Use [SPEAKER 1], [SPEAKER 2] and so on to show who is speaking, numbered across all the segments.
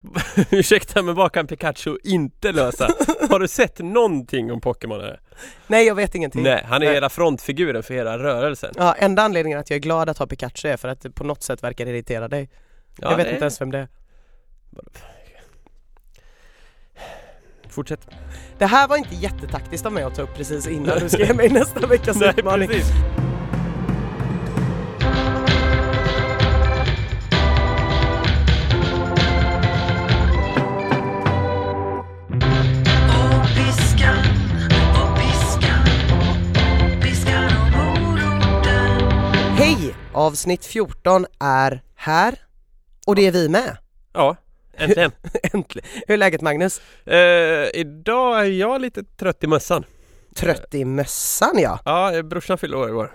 [SPEAKER 1] Ursäkta men vad kan Pikachu inte lösa? Har du sett någonting om Pokémon? eller?
[SPEAKER 2] Nej, jag vet ingenting.
[SPEAKER 1] Nej, han är
[SPEAKER 2] Nej.
[SPEAKER 1] hela frontfiguren för hela rörelsen.
[SPEAKER 2] Ja, enda anledningen att jag är glad att ha Pikachu är för att det på något sätt verkar irritera dig.
[SPEAKER 1] Ja,
[SPEAKER 2] jag vet
[SPEAKER 1] det-
[SPEAKER 2] inte ens vem det är.
[SPEAKER 1] Fortsätt.
[SPEAKER 2] Det här var inte jättetaktiskt av mig att ta upp precis innan du skrev mig nästa veckas
[SPEAKER 1] Nej,
[SPEAKER 2] utmaning.
[SPEAKER 1] precis.
[SPEAKER 3] Och piskan, och piskan, piskan och moroten
[SPEAKER 2] Hej! Avsnitt 14 är här. Och det är vi med.
[SPEAKER 1] Ja, äntligen.
[SPEAKER 2] Äntligen. Hur är läget Magnus?
[SPEAKER 1] Eh, idag är jag lite trött i mössan.
[SPEAKER 2] Trött i mössan ja.
[SPEAKER 1] Ja, eh, brorsan fyllde år igår.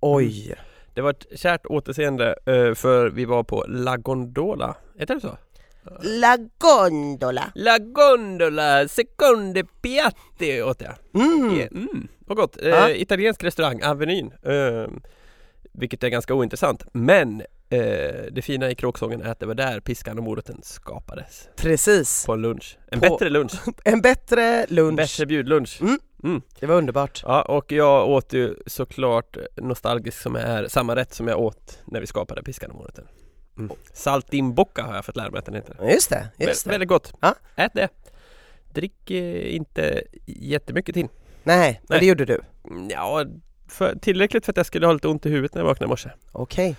[SPEAKER 2] Oj.
[SPEAKER 1] Det var ett kärt återseende eh, för vi var på La Gondola. Heter det så? Mm.
[SPEAKER 2] La gondola.
[SPEAKER 1] La Gondola Seconde Piatti åt jag.
[SPEAKER 2] Mm.
[SPEAKER 1] Mm. Mm. Vad gott. Eh,
[SPEAKER 2] Ja.
[SPEAKER 1] Italiensk restaurang, Avenyn. Eh, vilket är ganska ointressant. Men eh, det fina i kråksången är att det var där piskan och moroten skapades.
[SPEAKER 2] Precis.
[SPEAKER 1] På en lunch. En
[SPEAKER 2] På-
[SPEAKER 1] bättre lunch.
[SPEAKER 2] En bättre lunch.
[SPEAKER 1] Bättre bjudlunch.
[SPEAKER 2] Mm. Det var underbart.
[SPEAKER 1] Ja, och jag åt ju såklart nostalgisk som jag är, samma rätt som jag åt när vi skapade piskan och moroten. Mm. Saltimbocca har jag fått lära mig att den heter.
[SPEAKER 2] Just det, just
[SPEAKER 1] Vä-
[SPEAKER 2] det.
[SPEAKER 1] Väldigt gott.
[SPEAKER 2] Ja.
[SPEAKER 1] Ät det. Drick eh, inte jättemycket till.
[SPEAKER 2] Nej, men
[SPEAKER 1] Nej.
[SPEAKER 2] det gjorde du.
[SPEAKER 1] Mm, Ja, för, tillräckligt för att jag skulle ha lite ont i huvudet när jag vaknade i morse.
[SPEAKER 2] Okej.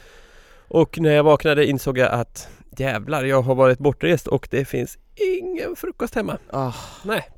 [SPEAKER 1] Och när jag vaknade insåg jag att jävlar, jag har varit bortrest och det finns ingen frukost hemma.
[SPEAKER 2] Ah.
[SPEAKER 1] Nej.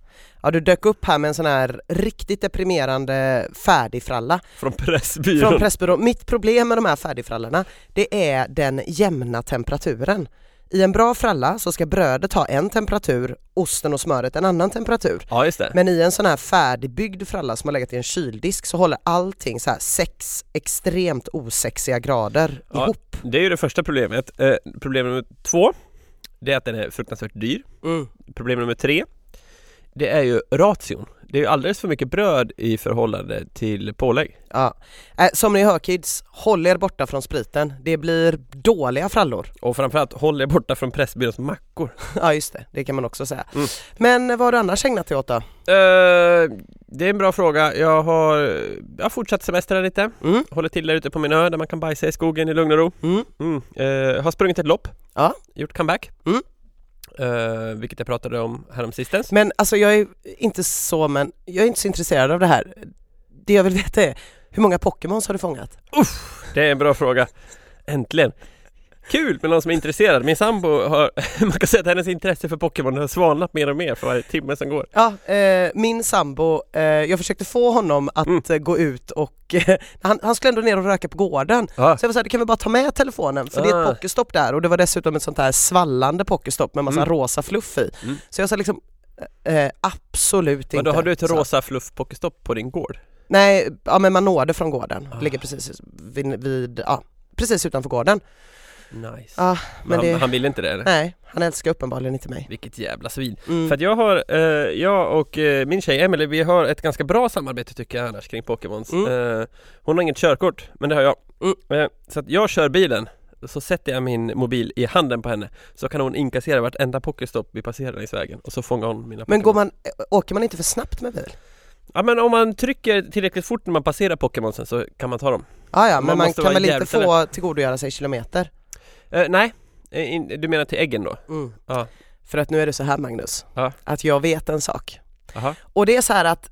[SPEAKER 2] Ja, du dök upp här med en sån här riktigt deprimerande färdigfralla
[SPEAKER 1] Från Pressbyrån.
[SPEAKER 2] från Pressbyrån. Mitt problem med de här färdigfrallorna, det är den jämna temperaturen. I en bra fralla så ska brödet ha en temperatur, osten och smöret en annan temperatur.
[SPEAKER 1] ja, just det.
[SPEAKER 2] Men i en sån här färdigbyggd fralla som har legat i en kyldisk så håller allting så här sex extremt osexiga grader
[SPEAKER 1] Ja.
[SPEAKER 2] ihop.
[SPEAKER 1] Det är ju det första problemet. Eh, problem nummer två, det är att den är fruktansvärt dyr. Problem nummer tre, det är ju ration. Det är ju alldeles för mycket bröd i förhållande till pålägg.
[SPEAKER 2] Ja. Eh, Som ni hör kids, håll er borta från spriten. Det blir dåliga frallor.
[SPEAKER 1] Och framförallt, håll er borta från Pressbyråns mackor.
[SPEAKER 2] Ja just det, det kan man också säga.
[SPEAKER 1] Mm.
[SPEAKER 2] Men vad har du annars ägnat dig åt då?
[SPEAKER 1] Eh, det är en bra fråga. Jag har, jag har fortsatt semestra lite.
[SPEAKER 2] Mm.
[SPEAKER 1] Håller till där ute på min ö där man kan bajsa i skogen i lugn och ro.
[SPEAKER 2] Mm.
[SPEAKER 1] Mm. Eh, har sprungit ett lopp.
[SPEAKER 2] Ja.
[SPEAKER 1] Gjort comeback.
[SPEAKER 2] Mm.
[SPEAKER 1] Eh, vilket jag pratade om häromsistens.
[SPEAKER 2] Men alltså jag är inte så, men jag är inte så intresserad av det här. Det jag vill veta är, hur många Pokémons har du fångat?
[SPEAKER 1] Det är en bra fråga. Äntligen! Kul med någon som är intresserad. Min sambo har, man kan säga att hennes intresse för Pokémon har svalnat mer och mer för varje timme som går.
[SPEAKER 2] Ja, eh, min sambo, eh, jag försökte få honom att
[SPEAKER 1] Mm.
[SPEAKER 2] eh, gå ut och eh, han, han skulle ändå ner och röka på gården.
[SPEAKER 1] Ja.
[SPEAKER 2] Så jag var såhär, du kan väl bara ta med telefonen för det är ett
[SPEAKER 1] Ah.
[SPEAKER 2] pokestopp där och det var dessutom ett sånt här svallande pokestopp med massa
[SPEAKER 1] Mm.
[SPEAKER 2] rosa fluff i.
[SPEAKER 1] Mm.
[SPEAKER 2] Så jag sa liksom, eh, absolut
[SPEAKER 1] Men
[SPEAKER 2] inte.
[SPEAKER 1] då har du ett
[SPEAKER 2] Så-
[SPEAKER 1] rosa fluff pokestopp på din gård?
[SPEAKER 2] Nej, ja men man når det från gården.
[SPEAKER 1] Ah.
[SPEAKER 2] Ligger precis vid, vid ja, precis utanför gården.
[SPEAKER 1] Nice.
[SPEAKER 2] Ja,
[SPEAKER 1] men
[SPEAKER 2] men
[SPEAKER 1] han,
[SPEAKER 2] det-
[SPEAKER 1] han vill inte det eller?
[SPEAKER 2] Nej, han älskar uppenbarligen inte mig.
[SPEAKER 1] Vilket jävla svin.
[SPEAKER 2] Mm.
[SPEAKER 1] För att jag har, eh, jag och eh, min tjej Emelie, vi har ett ganska bra samarbete tycker jag annars kring Pokémons.
[SPEAKER 2] Mm.
[SPEAKER 1] Eh, hon har inget körkort, men det har jag.
[SPEAKER 2] Mm.
[SPEAKER 1] Eh, så att jag kör bilen, så sätter jag min mobil i handen på henne, så kan hon inkassera vartenda Pokéstopp vi passerar längs vägen och så fångar hon mina
[SPEAKER 2] Men
[SPEAKER 1] Pokémon.
[SPEAKER 2] går man, eh, åker man inte för snabbt med bil?
[SPEAKER 1] Ja men om man trycker tillräckligt fort när man passerar Pokémonsen så kan man ta dem.
[SPEAKER 2] Ah, ja,
[SPEAKER 1] Man
[SPEAKER 2] men man
[SPEAKER 1] måste vara
[SPEAKER 2] kan väl inte
[SPEAKER 1] jävligt
[SPEAKER 2] få tillgodogöra sig kilometer?
[SPEAKER 1] Eh, nej, Eh, in, du menar till äggen då? Ja.
[SPEAKER 2] Mm. För att nu är det så här Magnus,
[SPEAKER 1] Ja.
[SPEAKER 2] att jag vet en sak.
[SPEAKER 1] Aha.
[SPEAKER 2] Och det är så här att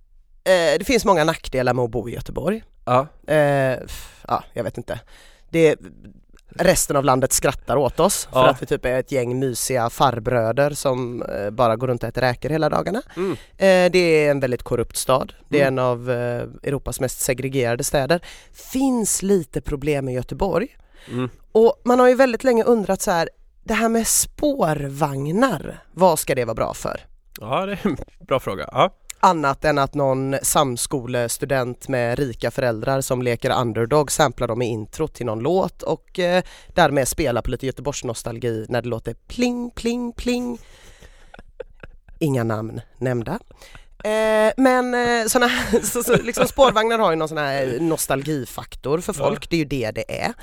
[SPEAKER 2] eh, det finns många nackdelar med att bo i Göteborg.
[SPEAKER 1] Ja.
[SPEAKER 2] Eh, f- ja, jag vet inte. Det, resten av landet skrattar åt oss för
[SPEAKER 1] Ja.
[SPEAKER 2] att vi typ är ett gäng mysiga farbröder som eh, bara går runt och äter räkor hela dagarna.
[SPEAKER 1] Mm.
[SPEAKER 2] Eh, det är en väldigt korrupt stad. Det är
[SPEAKER 1] Mm.
[SPEAKER 2] en av eh, Europas mest segregerade städer. Finns lite problem i Göteborg.
[SPEAKER 1] Mm.
[SPEAKER 2] Och man har ju väldigt länge undrat så här, det här med spårvagnar, vad ska det vara bra för?
[SPEAKER 1] ja, det är en bra fråga. Ja.
[SPEAKER 2] Annat än att någon samskolestudent med rika föräldrar som leker underdog samplar dem i intro till någon låt och eh, därmed spelar på lite Göteborgsnostalgi när det låter pling, pling, pling. Inga namn nämnda. Eh, men eh, såna, här- så, så, liksom spårvagnar har ju någon sån här nostalgifaktor för folk, det är ju det det är.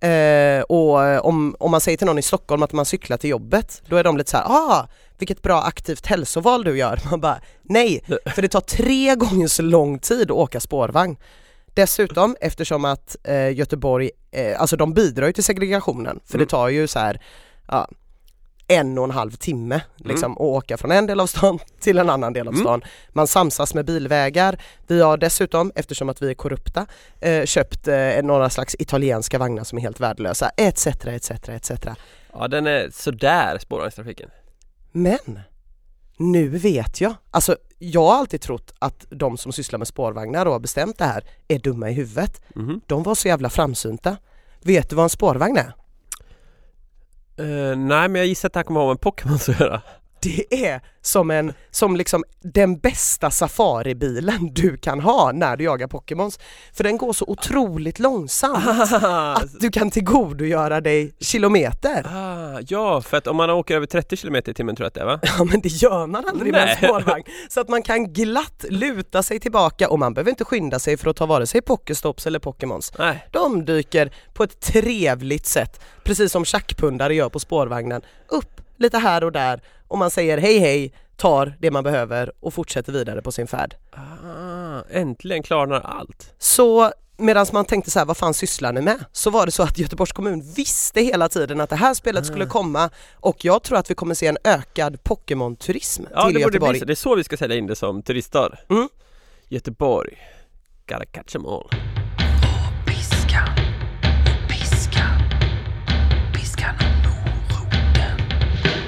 [SPEAKER 2] Eh, och eh, om, om man säger till någon i Stockholm att man cyklar till jobbet, då är de lite så här, ah, vilket bra aktivt hälsoval du gör. Man bara, nej, för det tar tre gånger så lång tid att åka spårvagn. Dessutom, eftersom att eh, Göteborg, eh, alltså de bidrar ju till segregationen, för
[SPEAKER 1] Mm.
[SPEAKER 2] det tar ju så här, ja, en och en halv timme liksom, att åka från en del av stan till en annan del av
[SPEAKER 1] Mm.
[SPEAKER 2] stan. Man samsas med bilvägar. Vi har dessutom, eftersom att vi är korrupta, eh, köpt eh, några slags italienska vagnar som är helt värdelösa, etc, etc, etc.
[SPEAKER 1] Ja den är sådär spårvagnstrafiken.
[SPEAKER 2] Men nu vet jag. Alltså jag har alltid trott att de som sysslar med spårvagnar och har bestämt det här är dumma i huvudet.
[SPEAKER 1] Mhm.
[SPEAKER 2] De var så jävla framsynta. Vet du vad en spårvagn är?
[SPEAKER 1] Eh, nej men jag gissar att det här kommer att ha med Pokémon att göra.
[SPEAKER 2] Det är som en, som liksom den bästa safaribilen du kan ha när du jagar Pokémons. För den går så otroligt långsamt
[SPEAKER 1] Ah,
[SPEAKER 2] att du kan tillgodogöra dig kilometer.
[SPEAKER 1] ah, ja, för att om man åker över 30 km i timmen tror jag att det är va?
[SPEAKER 2] Ja men det gör man aldrig med en
[SPEAKER 1] Nej.
[SPEAKER 2] spårvagn. Så att man kan glatt luta sig tillbaka och man behöver inte skynda sig för att ta vare sig Pokestops eller Pokémons.
[SPEAKER 1] Nej.
[SPEAKER 2] De dyker på ett trevligt sätt, precis som tjackpundare gör på spårvagnen, upp lite här och där och man säger hej hej, tar det man behöver och fortsätter vidare på sin färd.
[SPEAKER 1] Ah, äntligen klarnar allt.
[SPEAKER 2] Så medan man tänkte så här, vad fan sysslar ni med? Så var det så att Göteborgs kommun visste hela tiden att det här spelet skulle
[SPEAKER 1] Ah.
[SPEAKER 2] komma och jag tror att vi kommer se en ökad Pokémon-turism
[SPEAKER 1] Ja,
[SPEAKER 2] till
[SPEAKER 1] det, borde bli
[SPEAKER 2] Göteborg.
[SPEAKER 1] så. det är så vi ska sälja in det som turiststad.
[SPEAKER 2] Mm.
[SPEAKER 1] Göteborg. Gotta catch 'em all.
[SPEAKER 3] Piska, piska, piska nån moroten.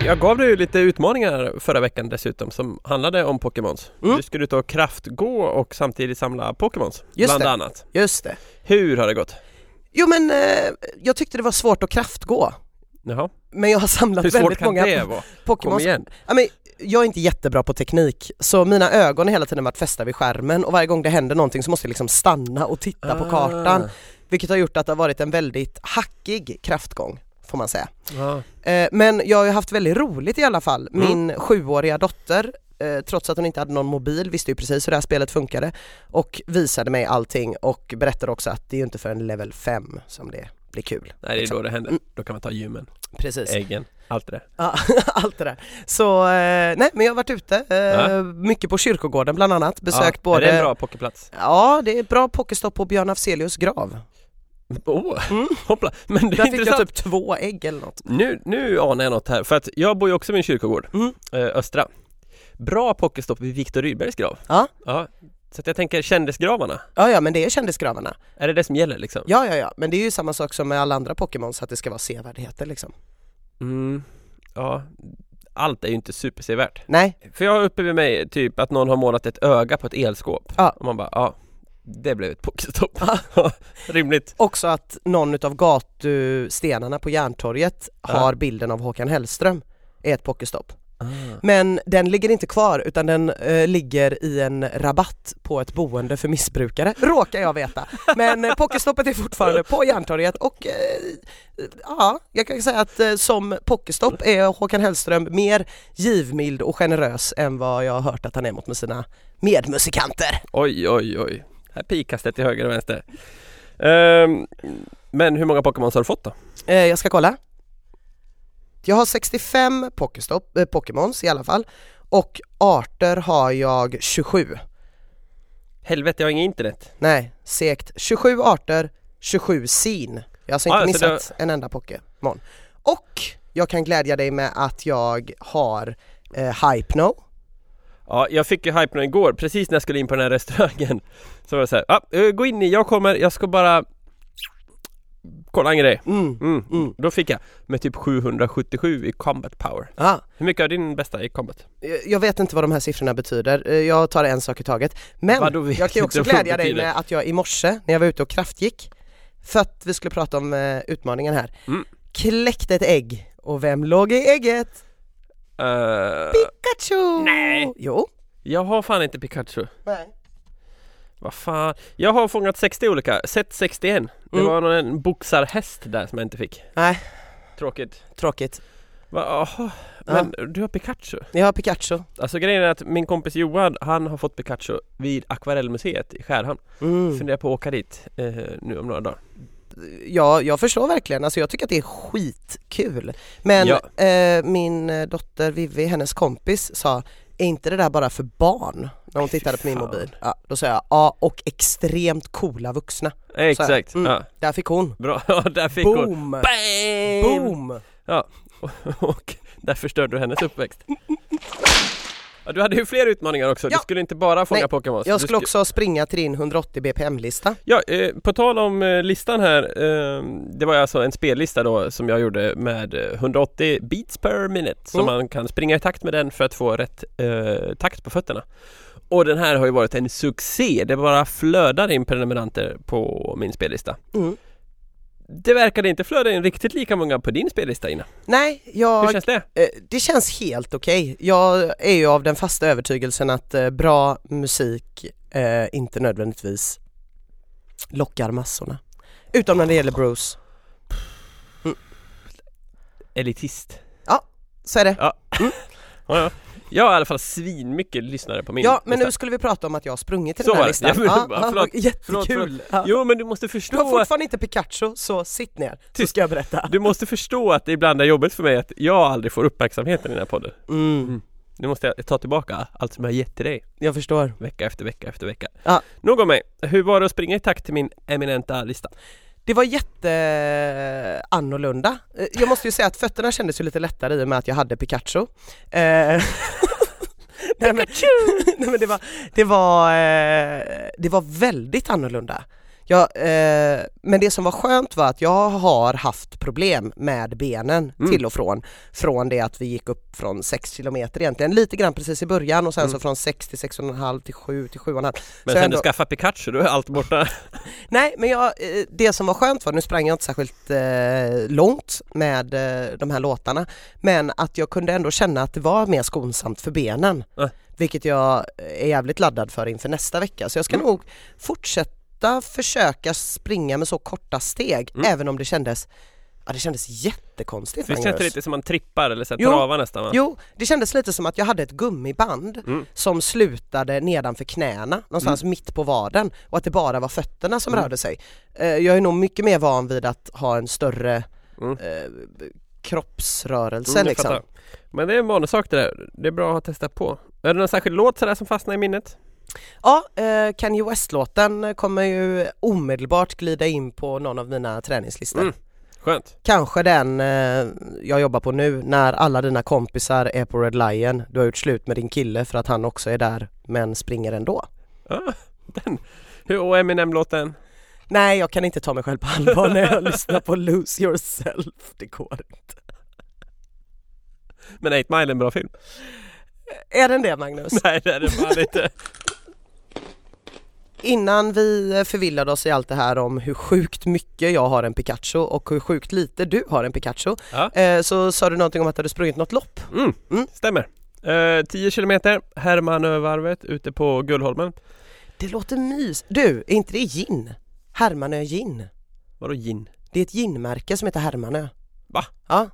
[SPEAKER 1] Jag gav dig ju lite utmaningar förra veckan dessutom som handlade om Pokémons.
[SPEAKER 2] Mm.
[SPEAKER 1] Du skulle ut och kraftgå och samtidigt samla Pokémons.
[SPEAKER 2] Just
[SPEAKER 1] bland
[SPEAKER 2] det.
[SPEAKER 1] annat.
[SPEAKER 2] Just det.
[SPEAKER 1] Hur har det gått?
[SPEAKER 2] Jo men eh, jag tyckte det var svårt att kraftgå.
[SPEAKER 1] Jaha.
[SPEAKER 2] Men jag har samlat
[SPEAKER 1] Hur svårt
[SPEAKER 2] väldigt
[SPEAKER 1] kan det
[SPEAKER 2] många
[SPEAKER 1] vara? Kom
[SPEAKER 2] Pokémons
[SPEAKER 1] igen.
[SPEAKER 2] Ja, men jag är inte jättebra på teknik så mina ögon har hela tiden varit fästa vid skärmen och varje gång det händer någonting så måste jag liksom stanna och titta
[SPEAKER 1] Ah.
[SPEAKER 2] på kartan. Vilket har gjort att det har varit en väldigt hackig kraftgång får man säga.
[SPEAKER 1] Ah.
[SPEAKER 2] Eh, men jag har ju haft väldigt roligt i alla fall.
[SPEAKER 1] Mm.
[SPEAKER 2] Min sjuåriga dotter eh, Trots att hon inte hade någon mobil visste ju precis hur det här spelet funkade och visade mig allting och berättade också att det är ju inte förrän level 5 som det blir kul.
[SPEAKER 1] Nej det är då det händer.
[SPEAKER 2] Mm.
[SPEAKER 1] Då kan man ta gymmen,
[SPEAKER 2] Precis.
[SPEAKER 1] äggen, allt det där.
[SPEAKER 2] Ja, Eh, allt det där. Så eh, nej men jag har varit ute eh,
[SPEAKER 1] Ja.
[SPEAKER 2] mycket på kyrkogården bland annat, besökt
[SPEAKER 1] ja,
[SPEAKER 2] både
[SPEAKER 1] Är det en bra poképlats?
[SPEAKER 2] Ja det är ett bra pokestopp på Björn Afzelius grav.
[SPEAKER 1] Oh,
[SPEAKER 2] Mm.
[SPEAKER 1] hoppla! Men det är
[SPEAKER 2] Där fick jag
[SPEAKER 1] intressant.
[SPEAKER 2] typ två ägg eller något.
[SPEAKER 1] Nu, nu anar jag något här, för att jag bor ju också vid en kyrkogård,
[SPEAKER 2] Mm.
[SPEAKER 1] eh, Östra. Bra pokéstopp vid Viktor Rydbergs grav.
[SPEAKER 2] Ja.
[SPEAKER 1] ja. Så att jag tänker kändisgravarna,
[SPEAKER 2] Ja ja men det är kändisgravarna.
[SPEAKER 1] är det det som gäller liksom?
[SPEAKER 2] Ja ja ja men det är ju samma sak som med alla andra Pokémons att det ska vara sevärdheter liksom.
[SPEAKER 1] Mm, ja, allt är ju inte supersevärt.
[SPEAKER 2] Nej,
[SPEAKER 1] För jag har uppe vid mig typ att någon har målat ett öga på ett elskåp.
[SPEAKER 2] Ja.
[SPEAKER 1] Och man bara, ja, det blev ett pokestopp.
[SPEAKER 2] Ja.
[SPEAKER 1] Rimligt.
[SPEAKER 2] också att någon utav gatustenarna på Järntorget
[SPEAKER 1] Ja.
[SPEAKER 2] har bilden av Håkan Hellström är ett pokestopp. Ah. Men den ligger inte kvar utan den eh, ligger i en rabatt på ett boende för missbrukare, råkar jag veta. Men eh, Pokestoppet är fortfarande på Järntorget och eh, ja, jag kan säga att eh, som Pokestopp är Håkan Hellström mer givmild och generös än vad jag har hört att han är mot med sina medmusikanter.
[SPEAKER 1] Oj, oj, oj. Här pikas det till höger och vänster. Ehm, men hur många Pokémons har du fått då?
[SPEAKER 2] Eh, jag ska kolla. Jag har 65 Pokestopp, eh, Pokémons i alla fall och arter har jag 27.
[SPEAKER 1] Helvete, jag har inget internet.
[SPEAKER 2] Nej, segt. 27 arter, 27 sin. Jag har alltså inte
[SPEAKER 1] Ah, så det-
[SPEAKER 2] missat en enda Pokémon. Och jag kan glädja dig med att jag har eh, Hypno.
[SPEAKER 1] Ja, jag fick ju hypen igår, precis när jag skulle in på den här restaurangen. Så var det så här, ah, eh, gå in i, jag kommer, jag ska bara kolla en grej.
[SPEAKER 2] Mm.
[SPEAKER 1] Mm.
[SPEAKER 2] Mm.
[SPEAKER 1] Då fick jag med typ 777 i combat power.
[SPEAKER 2] Ah,
[SPEAKER 1] Hur mycket är din bästa i combat?
[SPEAKER 2] eh, jag vet inte vad de här siffrorna betyder, Eh, jag tar en sak i taget. Men
[SPEAKER 1] Vadå vet
[SPEAKER 2] jag kan ju också
[SPEAKER 1] inte vad de
[SPEAKER 2] glädja dig
[SPEAKER 1] betyder?
[SPEAKER 2] med att jag i morse när jag var ute och kraftgick, för att vi skulle prata om eh, utmaningen här,
[SPEAKER 1] Mm.
[SPEAKER 2] kläckte ett ägg. Och vem låg i ägget?
[SPEAKER 1] Eh,
[SPEAKER 2] Pikachu!
[SPEAKER 1] Nej.
[SPEAKER 2] Jo.
[SPEAKER 1] jag har fan inte Pikachu.
[SPEAKER 2] Nej.
[SPEAKER 1] Vad fan. Jag har fångat 60 olika, sett 61. Det
[SPEAKER 2] Mm.
[SPEAKER 1] var någon en boxarhäst där som jag inte fick.
[SPEAKER 2] Nej,
[SPEAKER 1] Tråkigt.
[SPEAKER 2] tråkigt.
[SPEAKER 1] Va, aha. Men du har Pikachu?
[SPEAKER 2] Jag har Pikachu.
[SPEAKER 1] Alltså grejen är att min kompis Johan, han har fått Pikachu vid Akvarellmuseet i Skärhamn.
[SPEAKER 2] Mm.
[SPEAKER 1] Funderar på att åka dit eh, nu om några dagar.
[SPEAKER 2] att ja, jag förstår verkligen, alltså jag tycker att det är skitkul. Men
[SPEAKER 1] Ja.
[SPEAKER 2] eh, min eh, dotter Vivi, hennes kompis sa, är inte det där bara för barn? När hon
[SPEAKER 1] Fy
[SPEAKER 2] tittade på min
[SPEAKER 1] fan.
[SPEAKER 2] mobil. Ja, då sa jag, ja och extremt coola vuxna.
[SPEAKER 1] Exakt,
[SPEAKER 2] Mm.
[SPEAKER 1] ja,
[SPEAKER 2] Där fick hon.
[SPEAKER 1] bra, ja, där fick hon
[SPEAKER 2] Boom!
[SPEAKER 1] Bam! Alltså,
[SPEAKER 2] Boom!
[SPEAKER 1] Och där förstörde du hennes uppväxt ja, Du hade ju fler utmaningar också,
[SPEAKER 2] Ja.
[SPEAKER 1] du skulle inte bara fånga
[SPEAKER 2] Nej,
[SPEAKER 1] Pokémon
[SPEAKER 2] Jag skulle också springa till din 180 BPM-lista.
[SPEAKER 1] Ja, eh, på tal om eh, listan här eh, Det var ju alltså en spellista då som jag gjorde med eh, 180 beats per minute Så
[SPEAKER 2] Mm.
[SPEAKER 1] man kan springa i takt med den för att få rätt eh, takt på fötterna Och den här har ju varit en succé, det bara flödar in prenumeranter på min spellista
[SPEAKER 2] Mm.
[SPEAKER 1] Det verkade inte flöda in riktigt lika många på din spellista Ina,
[SPEAKER 2] Nej,
[SPEAKER 1] hur
[SPEAKER 2] jag
[SPEAKER 1] känns det?
[SPEAKER 2] Eh, Det känns helt okej. Jag är ju av den fasta övertygelsen att eh, bra musik eh, inte nödvändigtvis lockar massorna. Utom när det gäller Bruce.
[SPEAKER 1] Elitist
[SPEAKER 2] Så är det.
[SPEAKER 1] ja, ja. Jag har i alla fall svinmycket lyssnare på min
[SPEAKER 2] Ja, men
[SPEAKER 1] lista.
[SPEAKER 2] nu skulle vi prata om att jag har sprungit till
[SPEAKER 1] Så
[SPEAKER 2] den här
[SPEAKER 1] var det.
[SPEAKER 2] listan.
[SPEAKER 1] Ja, men
[SPEAKER 2] Ja,
[SPEAKER 1] bara,
[SPEAKER 2] ja,
[SPEAKER 1] förlåt,
[SPEAKER 2] Jättekul!
[SPEAKER 1] förlåt, förlåt.
[SPEAKER 2] Ja.
[SPEAKER 1] Jo men du måste
[SPEAKER 2] Du har
[SPEAKER 1] förstå att
[SPEAKER 2] fortfarande inte Pikachu, så sitt ner. Så
[SPEAKER 1] Tyst.
[SPEAKER 2] ska jag berätta.
[SPEAKER 1] Du måste förstå att det ibland är jobbigt för mig att jag aldrig får uppmärksamheten i den här podden.
[SPEAKER 2] Mm,
[SPEAKER 1] Nu måste jag ta tillbaka allt som jag har gett till dig
[SPEAKER 2] jag förstår.
[SPEAKER 1] vecka efter vecka efter vecka.
[SPEAKER 2] Ja.
[SPEAKER 1] Nog om mig. Hur var det att springa i takt till min eminenta lista?
[SPEAKER 2] Det var jätte annorlunda. Eh, Jag måste ju säga att fötterna kändes ju lite lättare i och med att jag hade Pikachu. Eh, nej, men, nej men det var, det var, eh, det var väldigt annorlunda. Jag, eh, men det som var skönt var att jag har haft problem med benen
[SPEAKER 1] Mm.
[SPEAKER 2] till och från. Från det att vi gick upp från 6 kilometer egentligen, lite grann precis i början och sen
[SPEAKER 1] Mm.
[SPEAKER 2] så från 6 till 6,5 till 7 till 7,5.
[SPEAKER 1] Men
[SPEAKER 2] Så
[SPEAKER 1] sen
[SPEAKER 2] ändå-
[SPEAKER 1] du skaffade Pikachu, då är allt borta.
[SPEAKER 2] Nej, men jag, eh, det som var skönt var, nu sprang jag inte särskilt eh, långt med eh, de här låtarna, men att jag kunde ändå känna att det var mer skonsamt för benen.
[SPEAKER 1] Äh.
[SPEAKER 2] Vilket jag eh, är jävligt laddad för inför nästa vecka. Så jag ska nog fortsätta försöka springa med så korta steg,
[SPEAKER 1] Mm.
[SPEAKER 2] även om det kändes, ja det kändes jättekonstigt.
[SPEAKER 1] Visst
[SPEAKER 2] Magnus.
[SPEAKER 1] känns det lite som man trippar eller så här
[SPEAKER 2] Jo.
[SPEAKER 1] travar nästan va?
[SPEAKER 2] Jo, det kändes lite som att jag hade ett gummiband
[SPEAKER 1] Mm.
[SPEAKER 2] som slutade nedanför knäna, någonstans mitt på vaden och att det bara var fötterna som
[SPEAKER 1] Mm.
[SPEAKER 2] rörde sig. Eh, Jag är nog mycket mer van vid att ha en större
[SPEAKER 1] Mm.
[SPEAKER 2] eh, kroppsrörelse
[SPEAKER 1] Mm, jag
[SPEAKER 2] liksom.
[SPEAKER 1] fattar. Men det är en vanesak det där. Det är bra att ha testat på. Är det någon särskild låt sådär som fastnar i minnet?
[SPEAKER 2] Ja, eh, Kanye West-låten kommer ju omedelbart glida in på någon av mina träningslistor.
[SPEAKER 1] Mm. Skönt.
[SPEAKER 2] Kanske den eh, jag jobbar på nu när alla dina kompisar är på Red Lion, du har gjort slut med din kille för att han också är där men springer ändå.
[SPEAKER 1] Ja, den. Hur- Och Eminem-låten?
[SPEAKER 2] Nej, jag kan inte ta mig själv på allvar när jag lyssnar på Lose Yourself. Det går.
[SPEAKER 1] Men 8 Mile är en bra film.
[SPEAKER 2] Är den det Magnus?
[SPEAKER 1] Nej det är det fan inte.
[SPEAKER 2] Innan vi förvillade oss i allt det här om hur sjukt mycket jag har en Pikachu och hur sjukt lite du har en Pikachu
[SPEAKER 1] Ja.
[SPEAKER 2] eh, så sa du någonting om att du hade sprungit något lopp.
[SPEAKER 1] Mm,
[SPEAKER 2] Mm.
[SPEAKER 1] stämmer. Eh, 10 kilometer, Hermanövarvet ute på Gullholmen.
[SPEAKER 2] Det låter mys. Du, är inte det gin? Hermanö gin.
[SPEAKER 1] Vadå gin?
[SPEAKER 2] Det är ett ginmärke som heter Hermanö.
[SPEAKER 1] Va?
[SPEAKER 2] Ja,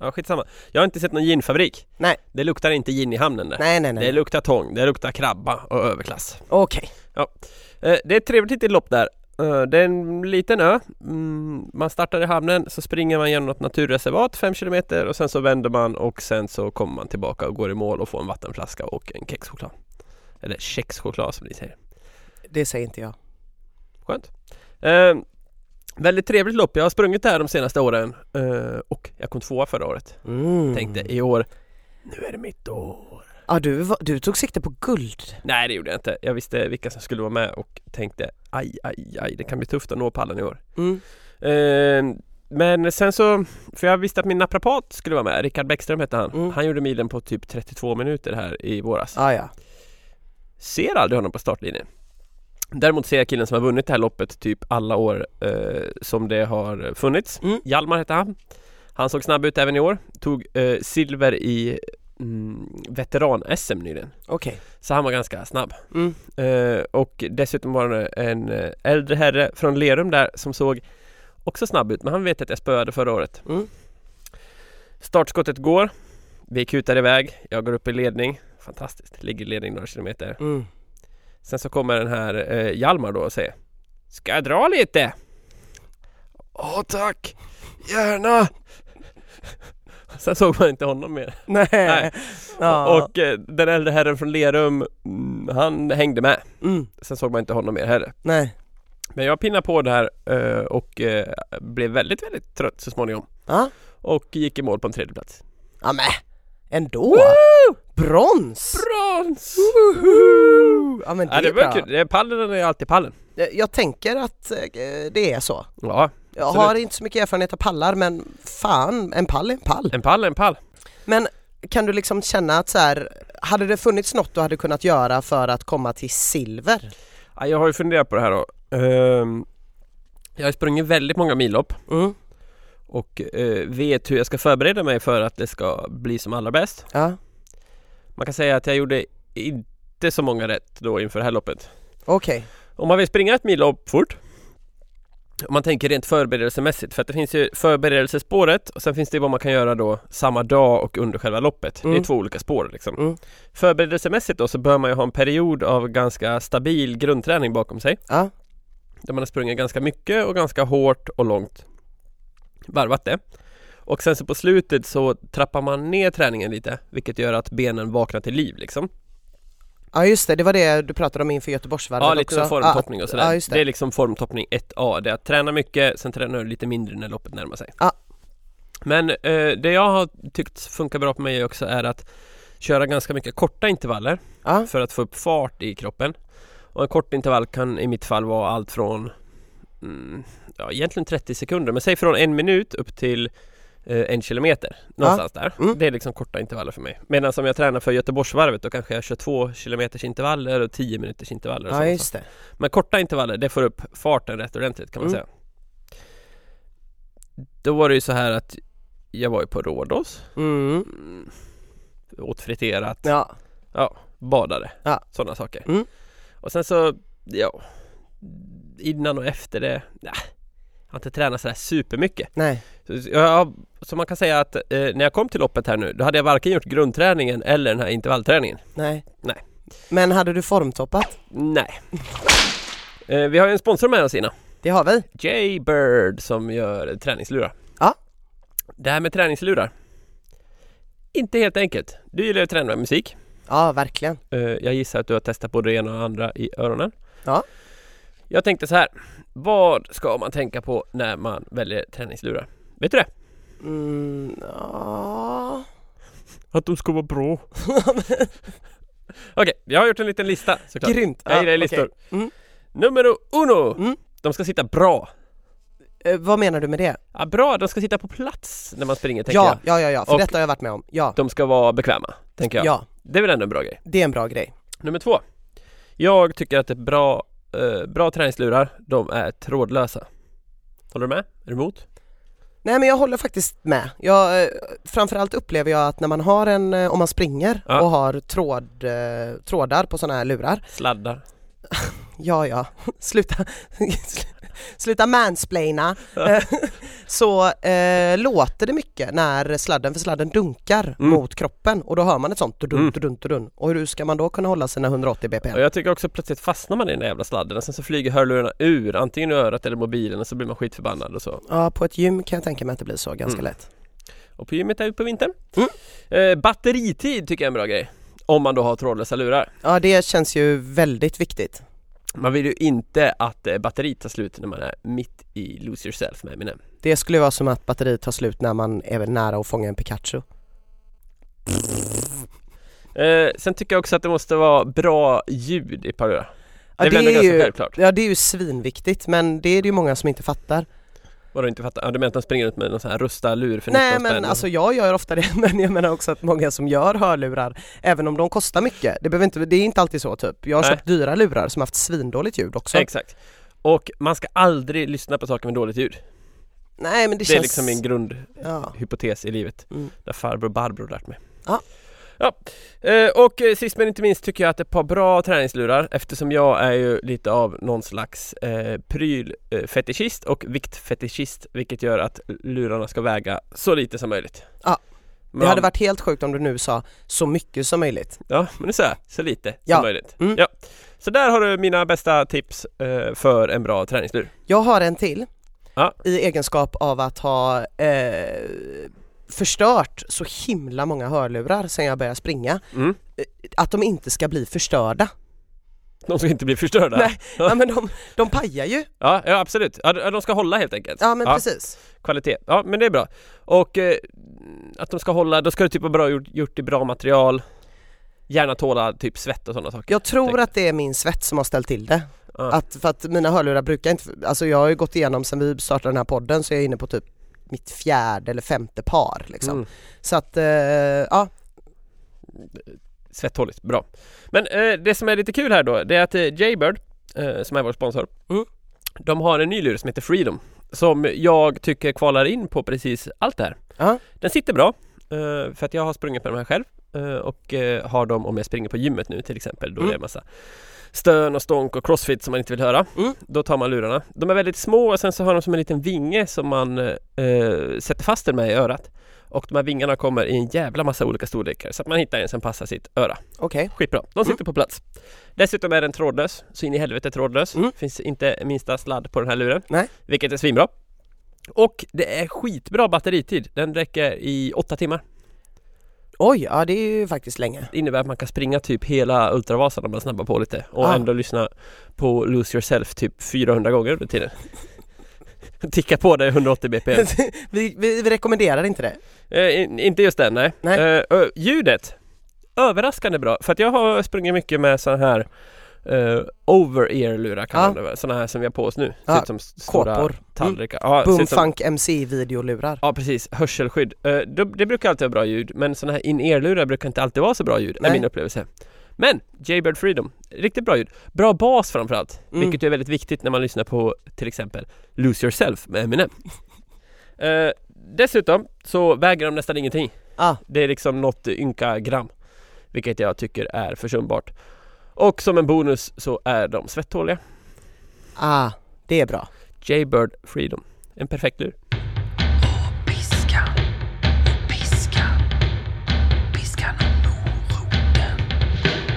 [SPEAKER 1] Ja skitsamma. Jag har inte sett någon ginfabrik.
[SPEAKER 2] Nej.
[SPEAKER 1] Det luktar inte gin i hamnen där.
[SPEAKER 2] nej nej nej.
[SPEAKER 1] Det luktar tång, det luktar krabba och överklass.
[SPEAKER 2] Okej.
[SPEAKER 1] Eh, det är ett trevligt litet lopp där. Eh, det är en liten ö. Mm, man startar i hamnen, så springer man genom ett naturreservat 5 kilometer och sen så vänder man och sen så kommer man tillbaka och går i mål och får en vattenflaska och en kexchoklad. Eller kexchoklad som ni säger.
[SPEAKER 2] Det säger inte jag.
[SPEAKER 1] Skönt. Eh, väldigt trevligt lopp. Jag har sprungit det här de senaste åren eh, och jag kom tvåa förra året.
[SPEAKER 2] Mm.
[SPEAKER 1] Tänkte i år, nu är det mitt år.
[SPEAKER 2] Ja, du, var- du tog sikte på guld.
[SPEAKER 1] Nej det gjorde jag inte. Jag visste vilka som skulle vara med och tänkte aj, aj, aj, det kan bli tufft att nå pallen i år.
[SPEAKER 2] Mm.
[SPEAKER 1] Eh, men sen så, för jag visste att min naprapat skulle vara med, Rickard Bäckström hette han.
[SPEAKER 2] Mm.
[SPEAKER 1] Han gjorde milen på typ 32 minuter här i våras.
[SPEAKER 2] Ah, ja.
[SPEAKER 1] Ser aldrig honom på startlinjen. Däremot ser jag killen som har vunnit det här loppet typ alla år eh, som det har funnits.
[SPEAKER 2] Mm.
[SPEAKER 1] Hjalmar hette han. Han såg snabb ut även i år. Tog eh, silver i mm, veteran-SM nyligen.
[SPEAKER 2] Okej.
[SPEAKER 1] Så han var ganska snabb.
[SPEAKER 2] Mm.
[SPEAKER 1] Eh, och dessutom var det en eh, äldre herre från Lerum där som såg också snabb ut, men han vet att jag spöade förra året.
[SPEAKER 2] Mm.
[SPEAKER 1] Startskottet går, vi kutar iväg, jag går upp i ledning. Fantastiskt, ligger i ledning några kilometer.
[SPEAKER 2] Mm.
[SPEAKER 1] Sen så kommer den här eh, Hjalmar då och säger Ska jag dra lite? Ja tack, gärna! Sen såg man inte honom mer.
[SPEAKER 2] Nej.
[SPEAKER 1] Nej.
[SPEAKER 2] Ja.
[SPEAKER 1] Och eh, den äldre herren från Lerum, mm, han hängde med.
[SPEAKER 2] Mm.
[SPEAKER 1] Sen såg man inte honom mer heller.
[SPEAKER 2] Nej.
[SPEAKER 1] Men jag pinnade på det här eh, och eh, blev väldigt, väldigt trött så småningom.
[SPEAKER 2] Ja.
[SPEAKER 1] Och gick i mål på en tredje plats.
[SPEAKER 2] Ja men. Ändå. Brons.
[SPEAKER 1] Brons!
[SPEAKER 2] Ja men det,
[SPEAKER 1] Ja, det
[SPEAKER 2] är bra.
[SPEAKER 1] var kul. Det är- Pallen är alltid pallen.
[SPEAKER 2] Jag- Jag tänker att eh, det är så.
[SPEAKER 1] Ja,
[SPEAKER 2] Jag
[SPEAKER 1] Absolut.
[SPEAKER 2] har inte så mycket erfarenhet av pallar men fan, en pall är en pall.
[SPEAKER 1] en pall är en pall.
[SPEAKER 2] Men kan du liksom känna att så här, hade det funnits något du hade kunnat göra för att komma till silver?
[SPEAKER 1] Ja, jag har ju funderat på det här då. Ehm, jag har sprungit väldigt många millopp
[SPEAKER 2] Mm.
[SPEAKER 1] och eh, vet hur jag ska förbereda mig för att det ska bli som allra bäst.
[SPEAKER 2] Ja.
[SPEAKER 1] Man kan säga att jag gjorde inte så många rätt då inför det här loppet.
[SPEAKER 2] Okej.
[SPEAKER 1] Om man vill springa ett millopp fort om man tänker rent förberedelsemässigt för att det finns ju förberedelsespåret och sen finns det vad man kan göra då samma dag och under själva loppet. Det
[SPEAKER 2] Mm.
[SPEAKER 1] är två olika spår liksom.
[SPEAKER 2] Mm.
[SPEAKER 1] Förberedelsemässigt då så bör man ju ha en period av ganska stabil grundträning bakom sig.
[SPEAKER 2] Ja.
[SPEAKER 1] Där man har sprungit ganska mycket och ganska hårt och långt Varvat det Och sen så på slutet så trappar man ner träningen lite Vilket gör att benen vaknar till liv liksom
[SPEAKER 2] Ja just det, det var det du pratade om inför Göteborgsvarvet
[SPEAKER 1] Ja
[SPEAKER 2] också.
[SPEAKER 1] lite formtoppning och sådär
[SPEAKER 2] Ja, just
[SPEAKER 1] det.
[SPEAKER 2] det.
[SPEAKER 1] är liksom formtoppning 1A Det är att träna mycket, sen tränar du lite mindre när loppet närmar sig
[SPEAKER 2] Ja.
[SPEAKER 1] Men eh, det jag har tyckt funkar bra på mig också är att Köra ganska mycket korta intervaller
[SPEAKER 2] Ja.
[SPEAKER 1] för att få upp fart i kroppen. Och en kort intervall kan i mitt fall vara allt från mm, ja, egentligen 30 sekunder, men säg från en minut upp till eh, en kilometer. Någonstans där.
[SPEAKER 2] Mm.
[SPEAKER 1] Det är liksom korta intervaller för mig. Medan om jag tränar för Göteborgsvarvet då kanske jag kör två kilometers intervaller och 10 minuters intervaller. Och
[SPEAKER 2] ja
[SPEAKER 1] sådana
[SPEAKER 2] just det.
[SPEAKER 1] saker. Men korta intervaller, det får upp farten rätt ordentligt kan man
[SPEAKER 2] Mm.
[SPEAKER 1] säga. Då var det ju så här att jag var ju på Rhodos,
[SPEAKER 2] Mm.
[SPEAKER 1] mm, åt friterat,
[SPEAKER 2] Ja.
[SPEAKER 1] badade,
[SPEAKER 2] Ja.
[SPEAKER 1] sådana saker.
[SPEAKER 2] Mm.
[SPEAKER 1] Och sen så, ja, innan och efter det, nej, jag har inte tränat sådär supermycket.
[SPEAKER 2] Nej.
[SPEAKER 1] Så, så jag, så man kan säga att eh, när jag kom till loppet här nu, då hade jag varken gjort grundträningen eller den här intervallträningen.
[SPEAKER 2] Nej.
[SPEAKER 1] Nej.
[SPEAKER 2] Men hade du formtoppat?
[SPEAKER 1] Nej. Eh, vi har ju en sponsor med oss Ina,
[SPEAKER 2] Det har vi.
[SPEAKER 1] Jaybird som gör träningslurar.
[SPEAKER 2] Ja.
[SPEAKER 1] Det här med träningslurar, inte helt enkelt. Du gillar ju att träna med musik.
[SPEAKER 2] Ja verkligen.
[SPEAKER 1] Eh, Jag gissar att du har testat både det ena och det andra i öronen.
[SPEAKER 2] Ja.
[SPEAKER 1] Jag tänkte så här. Vad ska man tänka på när man väljer träningslurar? Vet du det?
[SPEAKER 2] Mm, ja.
[SPEAKER 1] Att de ska vara bra. Okej, jag har gjort en liten lista såklart.
[SPEAKER 2] Grymt.
[SPEAKER 1] Jag gillar
[SPEAKER 2] Ja,
[SPEAKER 1] listor.
[SPEAKER 2] okej. Mm.
[SPEAKER 1] Nummer uno.
[SPEAKER 2] Mm.
[SPEAKER 1] De ska sitta bra.
[SPEAKER 2] Eh, vad menar du med det?
[SPEAKER 1] Ja, bra, de ska sitta på plats när man springer tänker
[SPEAKER 2] Ja,
[SPEAKER 1] jag.
[SPEAKER 2] ja, ja, ja, för
[SPEAKER 1] Och-
[SPEAKER 2] detta har jag varit med om. Ja,
[SPEAKER 1] De ska vara bekväma, tänker jag.
[SPEAKER 2] ja,
[SPEAKER 1] Det är väl ändå en bra grej.
[SPEAKER 2] det är en bra grej.
[SPEAKER 1] Nummer två. Jag tycker att det är bra, eh, bra träningslurar, de är trådlösa. Håller du med? Är du emot?
[SPEAKER 2] Nej men jag håller faktiskt med. Jag, eh, framförallt upplever jag att när man har en, eh, om man springer
[SPEAKER 1] Ja.
[SPEAKER 2] och har tråd, eh, trådar på sådana här lurar.
[SPEAKER 1] Sladdar.
[SPEAKER 2] Ja ja, sluta, sluta mansplaina. Eh, Så eh, låter det mycket när sladden, för sladden dunkar
[SPEAKER 1] Mm.
[SPEAKER 2] mot kroppen och då hör man ett sånt tudun,
[SPEAKER 1] Mm.
[SPEAKER 2] tudun, tudun. Och hur ska man då kunna hålla sina 180
[SPEAKER 1] Och
[SPEAKER 2] bpm?
[SPEAKER 1] jag tycker också plötsligt fastnar man i den där jävla sladden och sen så flyger hörlurarna ur antingen i örat eller mobilen och så blir man skitförbannad och så.
[SPEAKER 2] Ja på ett gym kan jag tänka mig att det blir så ganska
[SPEAKER 1] Mm.
[SPEAKER 2] lätt.
[SPEAKER 1] Och på gymmet är vi på vintern.
[SPEAKER 2] Mm.
[SPEAKER 1] Eh, batteritid tycker jag är en bra grej. Om man då har trådlösa lurar.
[SPEAKER 2] Ja det känns ju väldigt viktigt.
[SPEAKER 1] Man vill ju inte att eh, batteriet tar slut när man är mitt i Lose Yourself med Eminem.
[SPEAKER 2] Det skulle vara som att batteriet tar slut när man är väl nära att fånga en Pikachu.
[SPEAKER 1] Eh, sen tycker jag också att det måste vara bra ljud i ett par lurar.
[SPEAKER 2] Ja,
[SPEAKER 1] det är väl ändå ganska självklart?
[SPEAKER 2] ja det är ju svinviktigt men det är det ju många som inte fattar.
[SPEAKER 1] Vadå inte fattar? Ja, du menar att de springer ut med någon sån här rusta lur för
[SPEAKER 2] Nej
[SPEAKER 1] 19
[SPEAKER 2] men
[SPEAKER 1] spänn?
[SPEAKER 2] alltså jag gör ofta det men jag menar också att många som gör hörlurar, även om de kostar mycket, det, behöver inte, det är inte alltid så typ. Jag har
[SPEAKER 1] Nej.
[SPEAKER 2] köpt dyra lurar som haft svindåligt ljud också.
[SPEAKER 1] Exakt. Och man ska aldrig lyssna på saker med dåligt ljud. Det,
[SPEAKER 2] Nej men det,
[SPEAKER 1] är
[SPEAKER 2] känns...
[SPEAKER 1] liksom min grundhypotes
[SPEAKER 2] ja. i
[SPEAKER 1] i livet.
[SPEAKER 2] mm.
[SPEAKER 1] Det har farbror Barbro lärt mig.
[SPEAKER 2] Ja.
[SPEAKER 1] Ja. Eh, Och eh, sist men inte minst tycker jag att ett par bra träningslurar eftersom jag är ju lite av någon slags eh, prylfetischist och viktfetischist vilket gör att lurarna ska väga så lite som möjligt.
[SPEAKER 2] Ja.
[SPEAKER 1] Men,
[SPEAKER 2] Det hade varit helt sjukt om du nu sa så mycket som möjligt.
[SPEAKER 1] Ja, men nu säger jag så lite
[SPEAKER 2] Ja.
[SPEAKER 1] som möjligt.
[SPEAKER 2] Mm.
[SPEAKER 1] Ja. Så där har du mina bästa tips eh, för en bra träningslur.
[SPEAKER 2] Jag har en till.
[SPEAKER 1] Ja.
[SPEAKER 2] i egenskap av att ha eh, förstört så himla många hörlurar sen jag började springa.
[SPEAKER 1] Mm.
[SPEAKER 2] Att de inte ska bli förstörda.
[SPEAKER 1] De ska inte bli förstörda.
[SPEAKER 2] Nej, ja, men de, de pajar ju.
[SPEAKER 1] Ja, ja absolut. Ja, de de ska hålla helt enkelt.
[SPEAKER 2] Ja men precis.
[SPEAKER 1] Kvalitet. Ja, men det är bra. Och eh, att de ska hålla, då ska det typ vara bra gjort, gjort i bra material. Gärna tåla typ svett och sådana saker.
[SPEAKER 2] Jag tror
[SPEAKER 1] Tänker.
[SPEAKER 2] att det är min svett som har ställt till det.
[SPEAKER 1] Ja.
[SPEAKER 2] Att, för att mina hörlurar brukar inte, alltså jag har ju gått igenom sen vi startade den här podden så jag är inne på typ mitt fjärde eller femte par liksom.
[SPEAKER 1] Mm.
[SPEAKER 2] Så att, eh, ja,
[SPEAKER 1] Svetthåligt, bra. Men eh, det som är lite kul här då, det är att eh, Jaybird, eh, som är vår sponsor,
[SPEAKER 2] Mm.
[SPEAKER 1] de har en ny lur som heter Freedom. Som jag tycker kvalar in på precis allt det här.
[SPEAKER 2] Ja.
[SPEAKER 1] Den sitter bra, eh, för att jag har sprungit med de här själv. eh, Och eh, har dem om jag springer på gymmet nu till exempel, då
[SPEAKER 2] Mm.
[SPEAKER 1] det är massa stön och stånk och crossfit som man inte vill höra.
[SPEAKER 2] Mm.
[SPEAKER 1] Då tar man lurarna. De är väldigt små och sen så har de som en liten vinge som man eh, sätter fast den med i örat. Och de här vingarna kommer i en jävla massa olika storlekar så att man hittar en som passar sitt öra.
[SPEAKER 2] okej.
[SPEAKER 1] Skitbra, de
[SPEAKER 2] Mm.
[SPEAKER 1] sitter på plats. Dessutom är den trådlös, så in i helvete trådlös.
[SPEAKER 2] Mm.
[SPEAKER 1] Finns inte minsta sladd på den här luren.
[SPEAKER 2] Nej.
[SPEAKER 1] Vilket är svinbra. Och det är skitbra batteritid. Den räcker i åtta timmar.
[SPEAKER 2] Oj, ja det är ju faktiskt länge.
[SPEAKER 1] Det innebär att man kan springa typ hela Ultravasan om man snabbar på lite och
[SPEAKER 2] Ah.
[SPEAKER 1] ändå lyssna på Lose Yourself typ 400 gånger under tiden. Ticka på det 180 bpm.
[SPEAKER 2] vi, vi, vi rekommenderar inte det.
[SPEAKER 1] Eh, in, inte just den, nej.
[SPEAKER 2] Nej.
[SPEAKER 1] Eh, ö, ljudet, överraskande bra. För att jag har sprungit mycket med sådana här eh, over-ear-lurar kan
[SPEAKER 2] Ja.
[SPEAKER 1] man det väl. Sådana här som vi har på oss nu.
[SPEAKER 2] Ja,
[SPEAKER 1] Ser ut som s- stora
[SPEAKER 2] kåpor. Mm.
[SPEAKER 1] tallrikar. Ja, ser ut som-
[SPEAKER 2] Boomfunk MC videolurar.
[SPEAKER 1] Ja precis, hörselskydd. Eh, det, det brukar alltid vara bra ljud men sådana här in-ear-lurar brukar inte alltid vara så bra ljud, är
[SPEAKER 2] Nej.
[SPEAKER 1] min upplevelse. Men Jaybird Freedom, riktigt bra ljud. Bra bas framförallt,
[SPEAKER 2] Mm.
[SPEAKER 1] vilket är väldigt viktigt när man lyssnar på till exempel Lose Yourself med Eminem. Eh, dessutom så väger de nästan ingenting.
[SPEAKER 2] Ah.
[SPEAKER 1] Det är liksom något ynka gram, vilket jag tycker är försumbart. Och som en bonus så är de svettåliga.
[SPEAKER 2] Ah, det är bra.
[SPEAKER 1] Jaybird Freedom, en perfekt lur.
[SPEAKER 3] Piskan, piskan, piskan och moroten.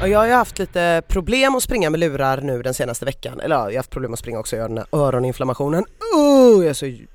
[SPEAKER 2] Och jag har ju haft lite problem att springa med lurar nu den senaste veckan. Eller ja, jag har haft problem att springa också, jag har den här öroninflammationen. Oh, jag är så ju-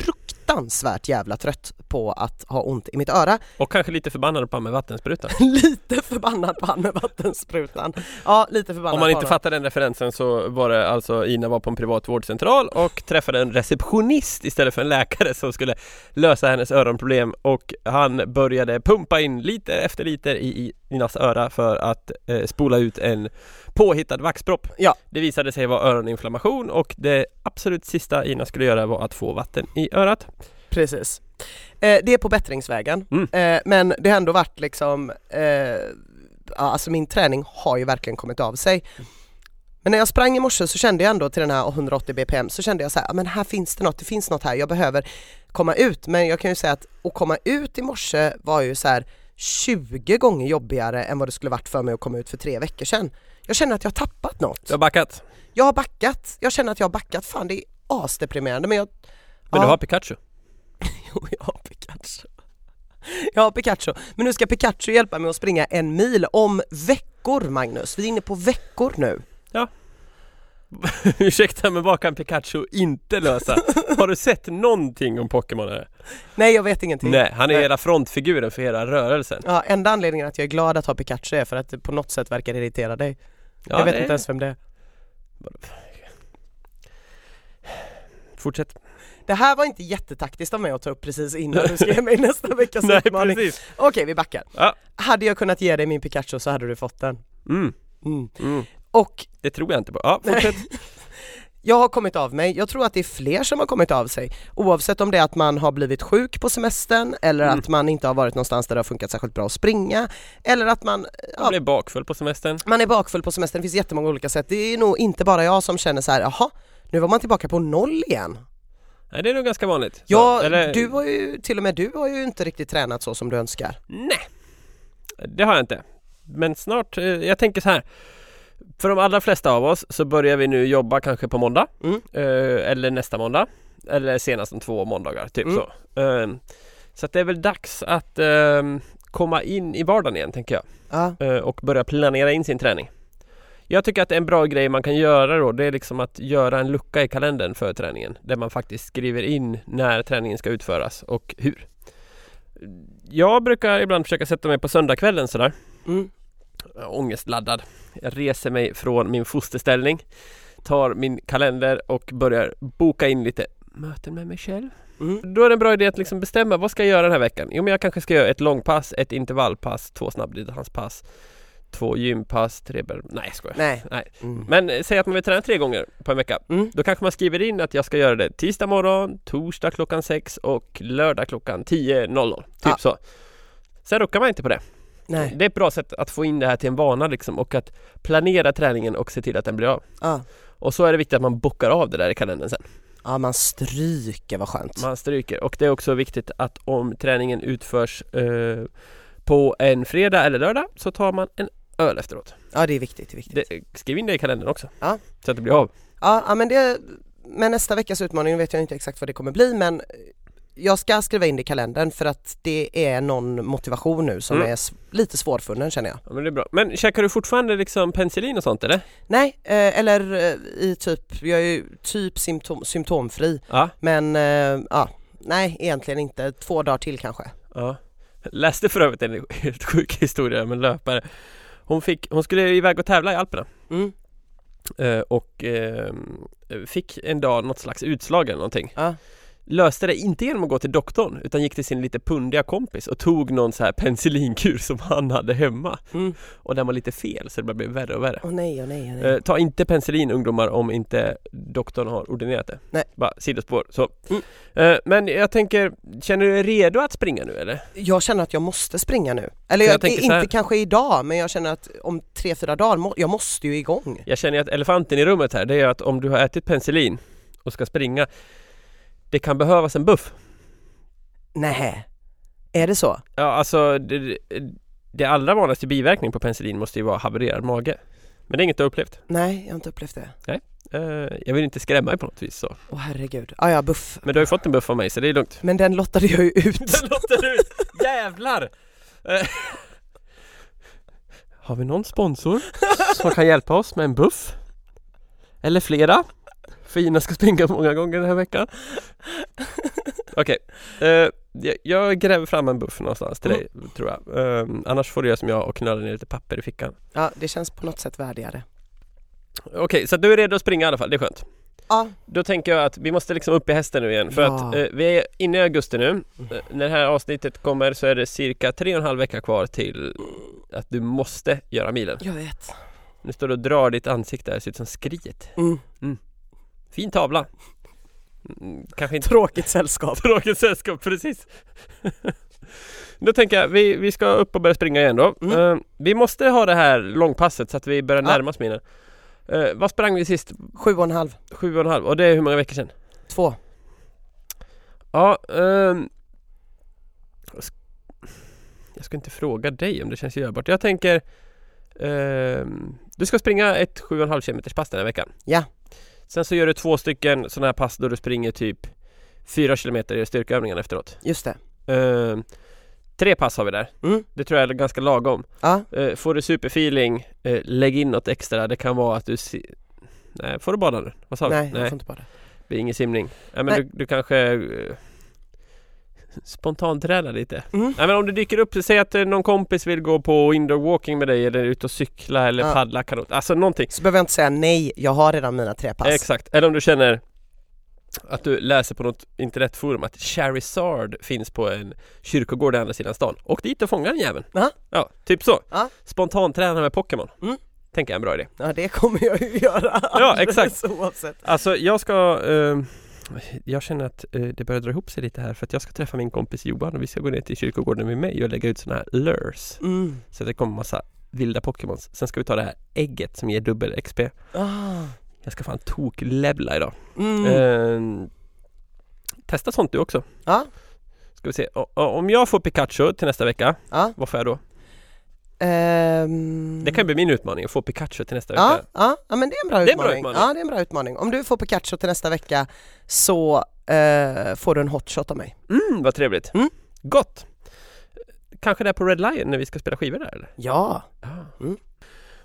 [SPEAKER 2] fruktansvärt jävla trött på att ha ont i mitt öra.
[SPEAKER 1] Och kanske lite förbannad på han med vattensprutan.
[SPEAKER 2] lite förbannad på han med vattensprutan. Ja, lite förbannad
[SPEAKER 1] Om man
[SPEAKER 2] på
[SPEAKER 1] inte
[SPEAKER 2] honom.
[SPEAKER 1] fattar den referensen så var det alltså Ina var på en privat vårdcentral och träffade en receptionist istället för en läkare som skulle lösa hennes öronproblem och han började pumpa in liter efter liter i- i Inas öra för att eh, spola ut en påhittad vaxpropp.
[SPEAKER 2] Ja.
[SPEAKER 1] Det visade sig vara öroninflammation och det absolut sista Ina skulle göra var att få vatten i örat.
[SPEAKER 2] Precis. Eh, det är på bättringsvägen.
[SPEAKER 1] Mm.
[SPEAKER 2] Eh, men det har ändå varit liksom, eh, ja, alltså min träning har ju verkligen kommit av sig. Men när jag sprang i morse så kände jag ändå till den här 180 BPM så kände jag så här, "Ja, men här finns det något, det finns något här, jag behöver komma ut. Men jag kan ju säga att att komma ut i morse var ju så här 20 gånger jobbigare än vad det skulle varit för mig att komma ut för tre veckor sedan. Jag känner att jag har tappat något.
[SPEAKER 1] Du har backat,
[SPEAKER 2] Jag har backat, jag känner att jag har backat. Fan det är asdeprimerande men jag...
[SPEAKER 1] men
[SPEAKER 2] Ja.
[SPEAKER 1] du har Pikachu.
[SPEAKER 2] Jo, jag har Pikachu. Jag har Pikachu. Men nu ska Pikachu hjälpa mig att springa en mil om veckor Magnus. Vi är inne på veckor nu.
[SPEAKER 1] Ursäkta, men vad kan Pikachu inte lösa? Har du sett någonting om Pokémon? här?
[SPEAKER 2] Nej jag vet ingenting.
[SPEAKER 1] Nej, han är
[SPEAKER 2] Nej.
[SPEAKER 1] hela frontfiguren för hela rörelsen.
[SPEAKER 2] Ja, enda anledningen att jag är glad att ha Pikachu är för att det på något sätt verkar irritera dig.
[SPEAKER 1] Ja,
[SPEAKER 2] jag vet
[SPEAKER 1] det-
[SPEAKER 2] inte ens vem det är.
[SPEAKER 1] Fortsätt.
[SPEAKER 2] Det här var inte jättetaktiskt av mig att ta upp precis innan du ska ge mig nästa veckas
[SPEAKER 1] Nej,
[SPEAKER 2] utmaning.
[SPEAKER 1] precis.
[SPEAKER 2] Okej vi backar.
[SPEAKER 1] Ja.
[SPEAKER 2] Hade jag kunnat ge dig min Pikachu så hade du fått den.
[SPEAKER 1] Mm,
[SPEAKER 2] Mm.
[SPEAKER 1] mm.
[SPEAKER 2] Och
[SPEAKER 1] Det tror jag inte på. Ja, fortsätt.
[SPEAKER 2] Jag har kommit av mig, jag tror att det är fler som har kommit av sig oavsett om det är att man har blivit sjuk på semestern eller
[SPEAKER 1] Mm.
[SPEAKER 2] att man inte har varit någonstans där det har funkat särskilt bra att springa eller att man,
[SPEAKER 1] Jag
[SPEAKER 2] ja,
[SPEAKER 1] blev bakfull på semestern.
[SPEAKER 2] man är bakfull på semestern, det finns jättemånga olika sätt. Det är nog inte bara jag som känner så här, jaha, nu var man tillbaka på noll igen.
[SPEAKER 1] Nej, det är nog ganska vanligt. Så,
[SPEAKER 2] Ja,
[SPEAKER 1] eller-
[SPEAKER 2] du har ju, till och med du har ju inte riktigt tränat så som du önskar.
[SPEAKER 1] Nej, det har jag inte. Men snart, eh, jag tänker så här. För de allra flesta av oss så börjar vi nu jobba kanske på måndag.
[SPEAKER 2] Mm.
[SPEAKER 1] Eh, eller nästa måndag. Eller senast om två måndagar, typ
[SPEAKER 2] Mm.
[SPEAKER 1] så. Eh, så att det är väl dags att ehm, eh, komma in i vardagen igen, tänker jag.
[SPEAKER 2] Ja.
[SPEAKER 1] eh, och börja planera in sin träning. Jag tycker att en bra grej man kan göra då det är liksom att göra en lucka i kalendern för träningen där man faktiskt skriver in när träningen ska utföras och hur. Jag brukar ibland försöka sätta mig på söndagskvällen sådär
[SPEAKER 2] Mm.
[SPEAKER 1] ångestladdad. Jag reser mig från min fosterställning, tar min kalender och börjar boka in lite möten med mig själv.
[SPEAKER 2] Mm.
[SPEAKER 1] Då är det en bra idé att liksom bestämma vad ska jag göra den här veckan? Jo men jag kanske ska göra ett långpass, ett intervallpass, två snabbdistanspass, två gympass, tre bär... Nej jag skojar.
[SPEAKER 2] Nej.
[SPEAKER 1] Nej.
[SPEAKER 2] Mm.
[SPEAKER 1] Men eh, säg att man vill träna tre gånger på en vecka.
[SPEAKER 2] Mm.
[SPEAKER 1] Då kanske man skriver in att jag ska göra det tisdag morgon, torsdag klockan sex och lördag klockan 10.00. Typ
[SPEAKER 2] Ah.
[SPEAKER 1] så. Sen ruckar man inte på det.
[SPEAKER 2] Nej.
[SPEAKER 1] Det är ett bra sätt att få in det här till en vana liksom och att planera träningen och se till att den blir av.
[SPEAKER 2] Ja.
[SPEAKER 1] Och så är det viktigt att man bockar av det där i kalendern sen.
[SPEAKER 2] ja, man stryker vad skönt.
[SPEAKER 1] Man stryker och det är också viktigt att om träningen utförs eh, på en fredag eller lördag så tar man en öl efteråt.
[SPEAKER 2] Ja, det är viktigt. Det är viktigt.
[SPEAKER 1] Det, skriv in det i kalendern också.
[SPEAKER 2] Ja.
[SPEAKER 1] Så att det blir av.
[SPEAKER 2] Ja, ja, men det, men nästa veckas utmaning vet jag inte exakt vad det kommer bli men jag ska skriva in det i kalendern för att det är någon motivation nu som
[SPEAKER 1] Mm.
[SPEAKER 2] är s- lite svårfunnen känner jag.
[SPEAKER 1] Ja, men det är bra. Men käkar du fortfarande liksom penicillin och sånt eller?
[SPEAKER 2] Nej, eh, eller eh, i typ, jag är ju typ symptom, symptomfri
[SPEAKER 1] Ja.
[SPEAKER 2] men eh, ja, nej egentligen inte, två dagar till kanske.
[SPEAKER 1] Ja. Läste för övrigt en helt sjuk historia om en löpare. Hon, fick, hon skulle iväg och tävla i Alperna.
[SPEAKER 2] Mm.
[SPEAKER 1] Eh, och eh, fick en dag något slags utslag eller någonting.
[SPEAKER 2] Ja.
[SPEAKER 1] Löste det inte genom att gå till doktorn utan gick till sin lite pundiga kompis och tog någon så här penicillinkur som han hade hemma.
[SPEAKER 2] Mm.
[SPEAKER 1] Och den var lite fel så det bara blev värre och värre.
[SPEAKER 2] Åh nej, åh nej, åh nej.
[SPEAKER 1] Eh, ta inte penicillin ungdomar om inte doktorn har ordinerat det.
[SPEAKER 2] Nej.
[SPEAKER 1] Bara sidospår. Så.
[SPEAKER 2] Mm.
[SPEAKER 1] Eh, men jag tänker, känner du dig redo att springa nu eller?
[SPEAKER 2] Jag känner att jag måste springa nu. Eller
[SPEAKER 1] Jag
[SPEAKER 2] jag,
[SPEAKER 1] tänker så här-
[SPEAKER 2] inte kanske idag men jag känner att om tre, fyra dagar, må, jag måste ju igång.
[SPEAKER 1] Jag känner ju att elefanten i rummet här, det är att om du har ätit penicillin och ska springa Det kan behövas en buff
[SPEAKER 2] Nej. är det så?
[SPEAKER 1] Ja alltså det, det allra vanligaste biverkningen på penicillin måste ju vara havererad mage Men det är inget du har upplevt
[SPEAKER 2] Nej, jag har inte upplevt det.
[SPEAKER 1] Eh, Jag vill inte skrämma dig på något vis så
[SPEAKER 2] Åh herregud, ah, ja buff.
[SPEAKER 1] Men du har ju fått en buff av mig så det är lugnt
[SPEAKER 2] Men den lottade jag ju ut.
[SPEAKER 1] Den låter ut! Jävlar! Eh, Har vi någon sponsor som kan hjälpa oss med en buff? Eller flera? För Ina ska springa många gånger den här veckan. Okej, eh, jag- jag gräver fram en buff någonstans till dig tror jag. Eh, annars får du göra som jag och knöla ner lite papper i fickan.
[SPEAKER 2] Ja, det känns på något sätt värdigare.
[SPEAKER 1] Okej, så att du är redo att springa i alla fall, det är skönt.
[SPEAKER 2] Ja,
[SPEAKER 1] Då tänker jag att vi måste liksom upp i hästen nu igen för
[SPEAKER 2] Ja. Mm.
[SPEAKER 1] att eh, vi är inne i augusti nu. Eh, när det här avsnittet kommer så är det cirka tre och en halv vecka kvar till att du måste göra milen.
[SPEAKER 2] jag vet.
[SPEAKER 1] Nu står du och drar ditt ansikte här, ser ut som skriet.
[SPEAKER 2] Mm.
[SPEAKER 1] Fin tavla. Mm, kanske inte
[SPEAKER 2] Tråkigt sällskap.
[SPEAKER 1] tråkigt sällskap, precis. Då tänker jag, vi, vi ska upp och börja springa igen då.
[SPEAKER 2] Mm.
[SPEAKER 1] Eh, vi måste ha det här långpasset så att vi börjar
[SPEAKER 2] Ja.
[SPEAKER 1] närma oss milen. Eh, vad sprang vi sist?
[SPEAKER 2] Sju och en halv,
[SPEAKER 1] Sju och en halv, och det är hur många veckor sedan?
[SPEAKER 2] två.
[SPEAKER 1] Ja, ehm, jag sk- jag ska inte fråga dig om det känns görbart. Jag tänker, ehm, du ska springa ett 7,5 km pass den här veckan.
[SPEAKER 2] Ja.
[SPEAKER 1] Sen så gör du två stycken sådana här pass då du springer typ 4 km i styrkeövningen efteråt.
[SPEAKER 2] Just det.
[SPEAKER 1] Ehm, tre pass har vi där.
[SPEAKER 2] Mm.
[SPEAKER 1] Det tror jag är ganska lagom.
[SPEAKER 2] Ja,
[SPEAKER 1] Eh, får du superfeeling, eh, lägg in något extra. Det kan vara att du... Si- Nej, får du bada nu? Vad sa vi?
[SPEAKER 2] nej, jag får inte bada.
[SPEAKER 1] Det är ingen simning. Ja, men
[SPEAKER 2] Nej.
[SPEAKER 1] du, du kanske eh, spontantränar lite.
[SPEAKER 2] Mm.
[SPEAKER 1] Ja, men om det dyker upp, säg att eh, någon kompis vill gå på indoor walking med dig eller ut och cykla eller
[SPEAKER 2] Ja.
[SPEAKER 1] paddla kanot. Alltså någonting.
[SPEAKER 2] Så behöver jag inte säga nej, jag har redan mina tre pass.
[SPEAKER 1] Exakt. Eller om du känner att du läser på något internetforum att Charizard finns på en kyrkogård i andra sidan stan. Åk dit och fånga den jäveln.
[SPEAKER 2] Ja.
[SPEAKER 1] Ja, typ så.
[SPEAKER 2] Ja.
[SPEAKER 1] Spontanträna med Pokémon.
[SPEAKER 2] Mm.
[SPEAKER 1] Tänker jag är en bra idé.
[SPEAKER 2] Ja, det kommer jag ju göra.
[SPEAKER 1] Ja, exakt.
[SPEAKER 2] alldeles Oavsett.
[SPEAKER 1] Alltså jag ska ehm, Jag känner att eh, det börjar dra ihop sig lite här för att jag ska träffa min kompis Johan och vi ska gå ner till kyrkogården med mig och lägga ut sådana här lures
[SPEAKER 2] Mm.
[SPEAKER 1] Så att det kommer massa vilda Pokémons Sen ska vi ta det här ägget som ger dubbel XP
[SPEAKER 2] Ah.
[SPEAKER 1] Jag ska fan toklevla idag
[SPEAKER 2] Mm.
[SPEAKER 1] Ehm, Testa sånt du också
[SPEAKER 2] Ja.
[SPEAKER 1] Ska vi se, O- o- om jag får Pikachu till nästa vecka
[SPEAKER 2] Ja.
[SPEAKER 1] Vad får jag då?
[SPEAKER 2] Ehm.
[SPEAKER 1] Det kan bli min utmaning, att få Pikachu till nästa
[SPEAKER 2] Ja,
[SPEAKER 1] vecka
[SPEAKER 2] ja, ja, men det är en bra
[SPEAKER 1] Det är en bra
[SPEAKER 2] utmaning.
[SPEAKER 1] utmaning.
[SPEAKER 2] Ja, det är en bra utmaning. Om du får Pikachu till nästa vecka så eh, får du en hotshot av mig.
[SPEAKER 1] mm, Vad trevligt
[SPEAKER 2] Mm.
[SPEAKER 1] Gott! Kanske där på Red Lion när vi ska spela skivor där eller?
[SPEAKER 2] Ja.
[SPEAKER 1] Ah.
[SPEAKER 2] Mm.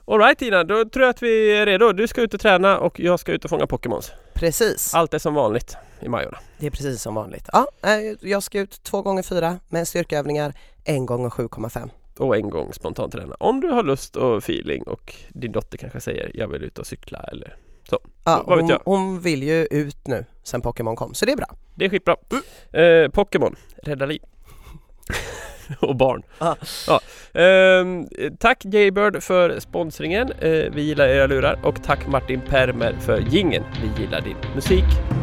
[SPEAKER 1] Okej, Alright Tina, då tror jag att vi är redo. Du ska ut och träna och jag ska ut och fånga Pokémons.
[SPEAKER 2] Precis,
[SPEAKER 1] Allt är som vanligt i Majorna.
[SPEAKER 2] det är precis som vanligt. Ja, eh, jag ska ut två gånger fyra med styrkeövningar, en gång och 7,5.
[SPEAKER 1] Och en gång spontant träna. Om du har lust och feeling och din dotter kanske säger jag vill ut och cykla eller
[SPEAKER 2] Ja,
[SPEAKER 1] Vad vet
[SPEAKER 2] hon,
[SPEAKER 1] jag?
[SPEAKER 2] hon vill ju ut nu sen Pokémon kom, så det är bra.
[SPEAKER 1] Det är skitbra.
[SPEAKER 2] Mm.
[SPEAKER 1] Eh, Pokémon, rädda liv. och barn.
[SPEAKER 2] Ah.
[SPEAKER 1] Ja. Ehm, tack Jaybird för sponsringen. Eh, vi gillar era lurar. Och tack Martin Permer för gingen. Vi gillar din musik.